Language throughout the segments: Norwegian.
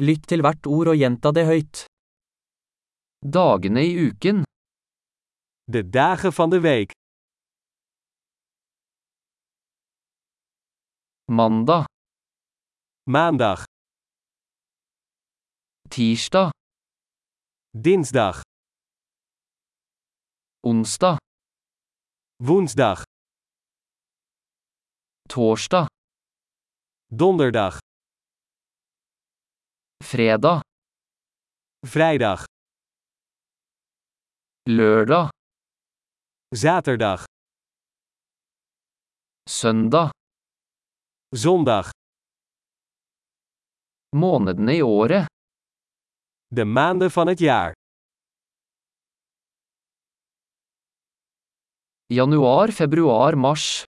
Lytt til hvert ord og gjenta det høyt. Dagene i uken, De dagen van de week. mandag, Maandag, tirsdag, dinsdag, onsdag, woensdag, torsdag, donderdag, fredag, vrijdag, lørdag, zaterdag, søndag. zondag. Månedene i året, De maanden van het jaar. januar, februar, mars,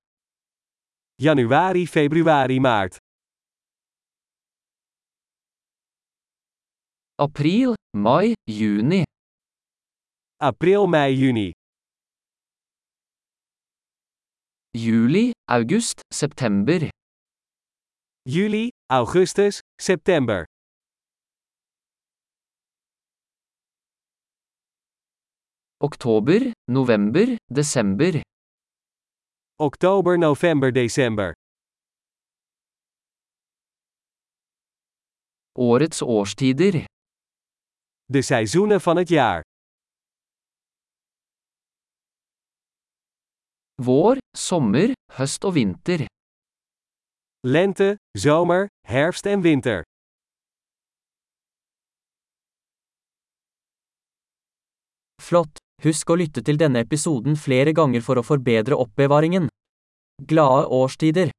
Januari, februari, maart. april, mai, juni, April, mei, juni. juli, august, september, Juli, augustus, september. oktober, november, desember, Oktober, november, december. årets årstider, De seizoenen van het jaar. vår, sommer, høst og vinter, Lente, zomer, herfst en winter. Flott! Husk å lytte til denne episoden flere ganger for å forbedre oppbevaringen. Glade årstider!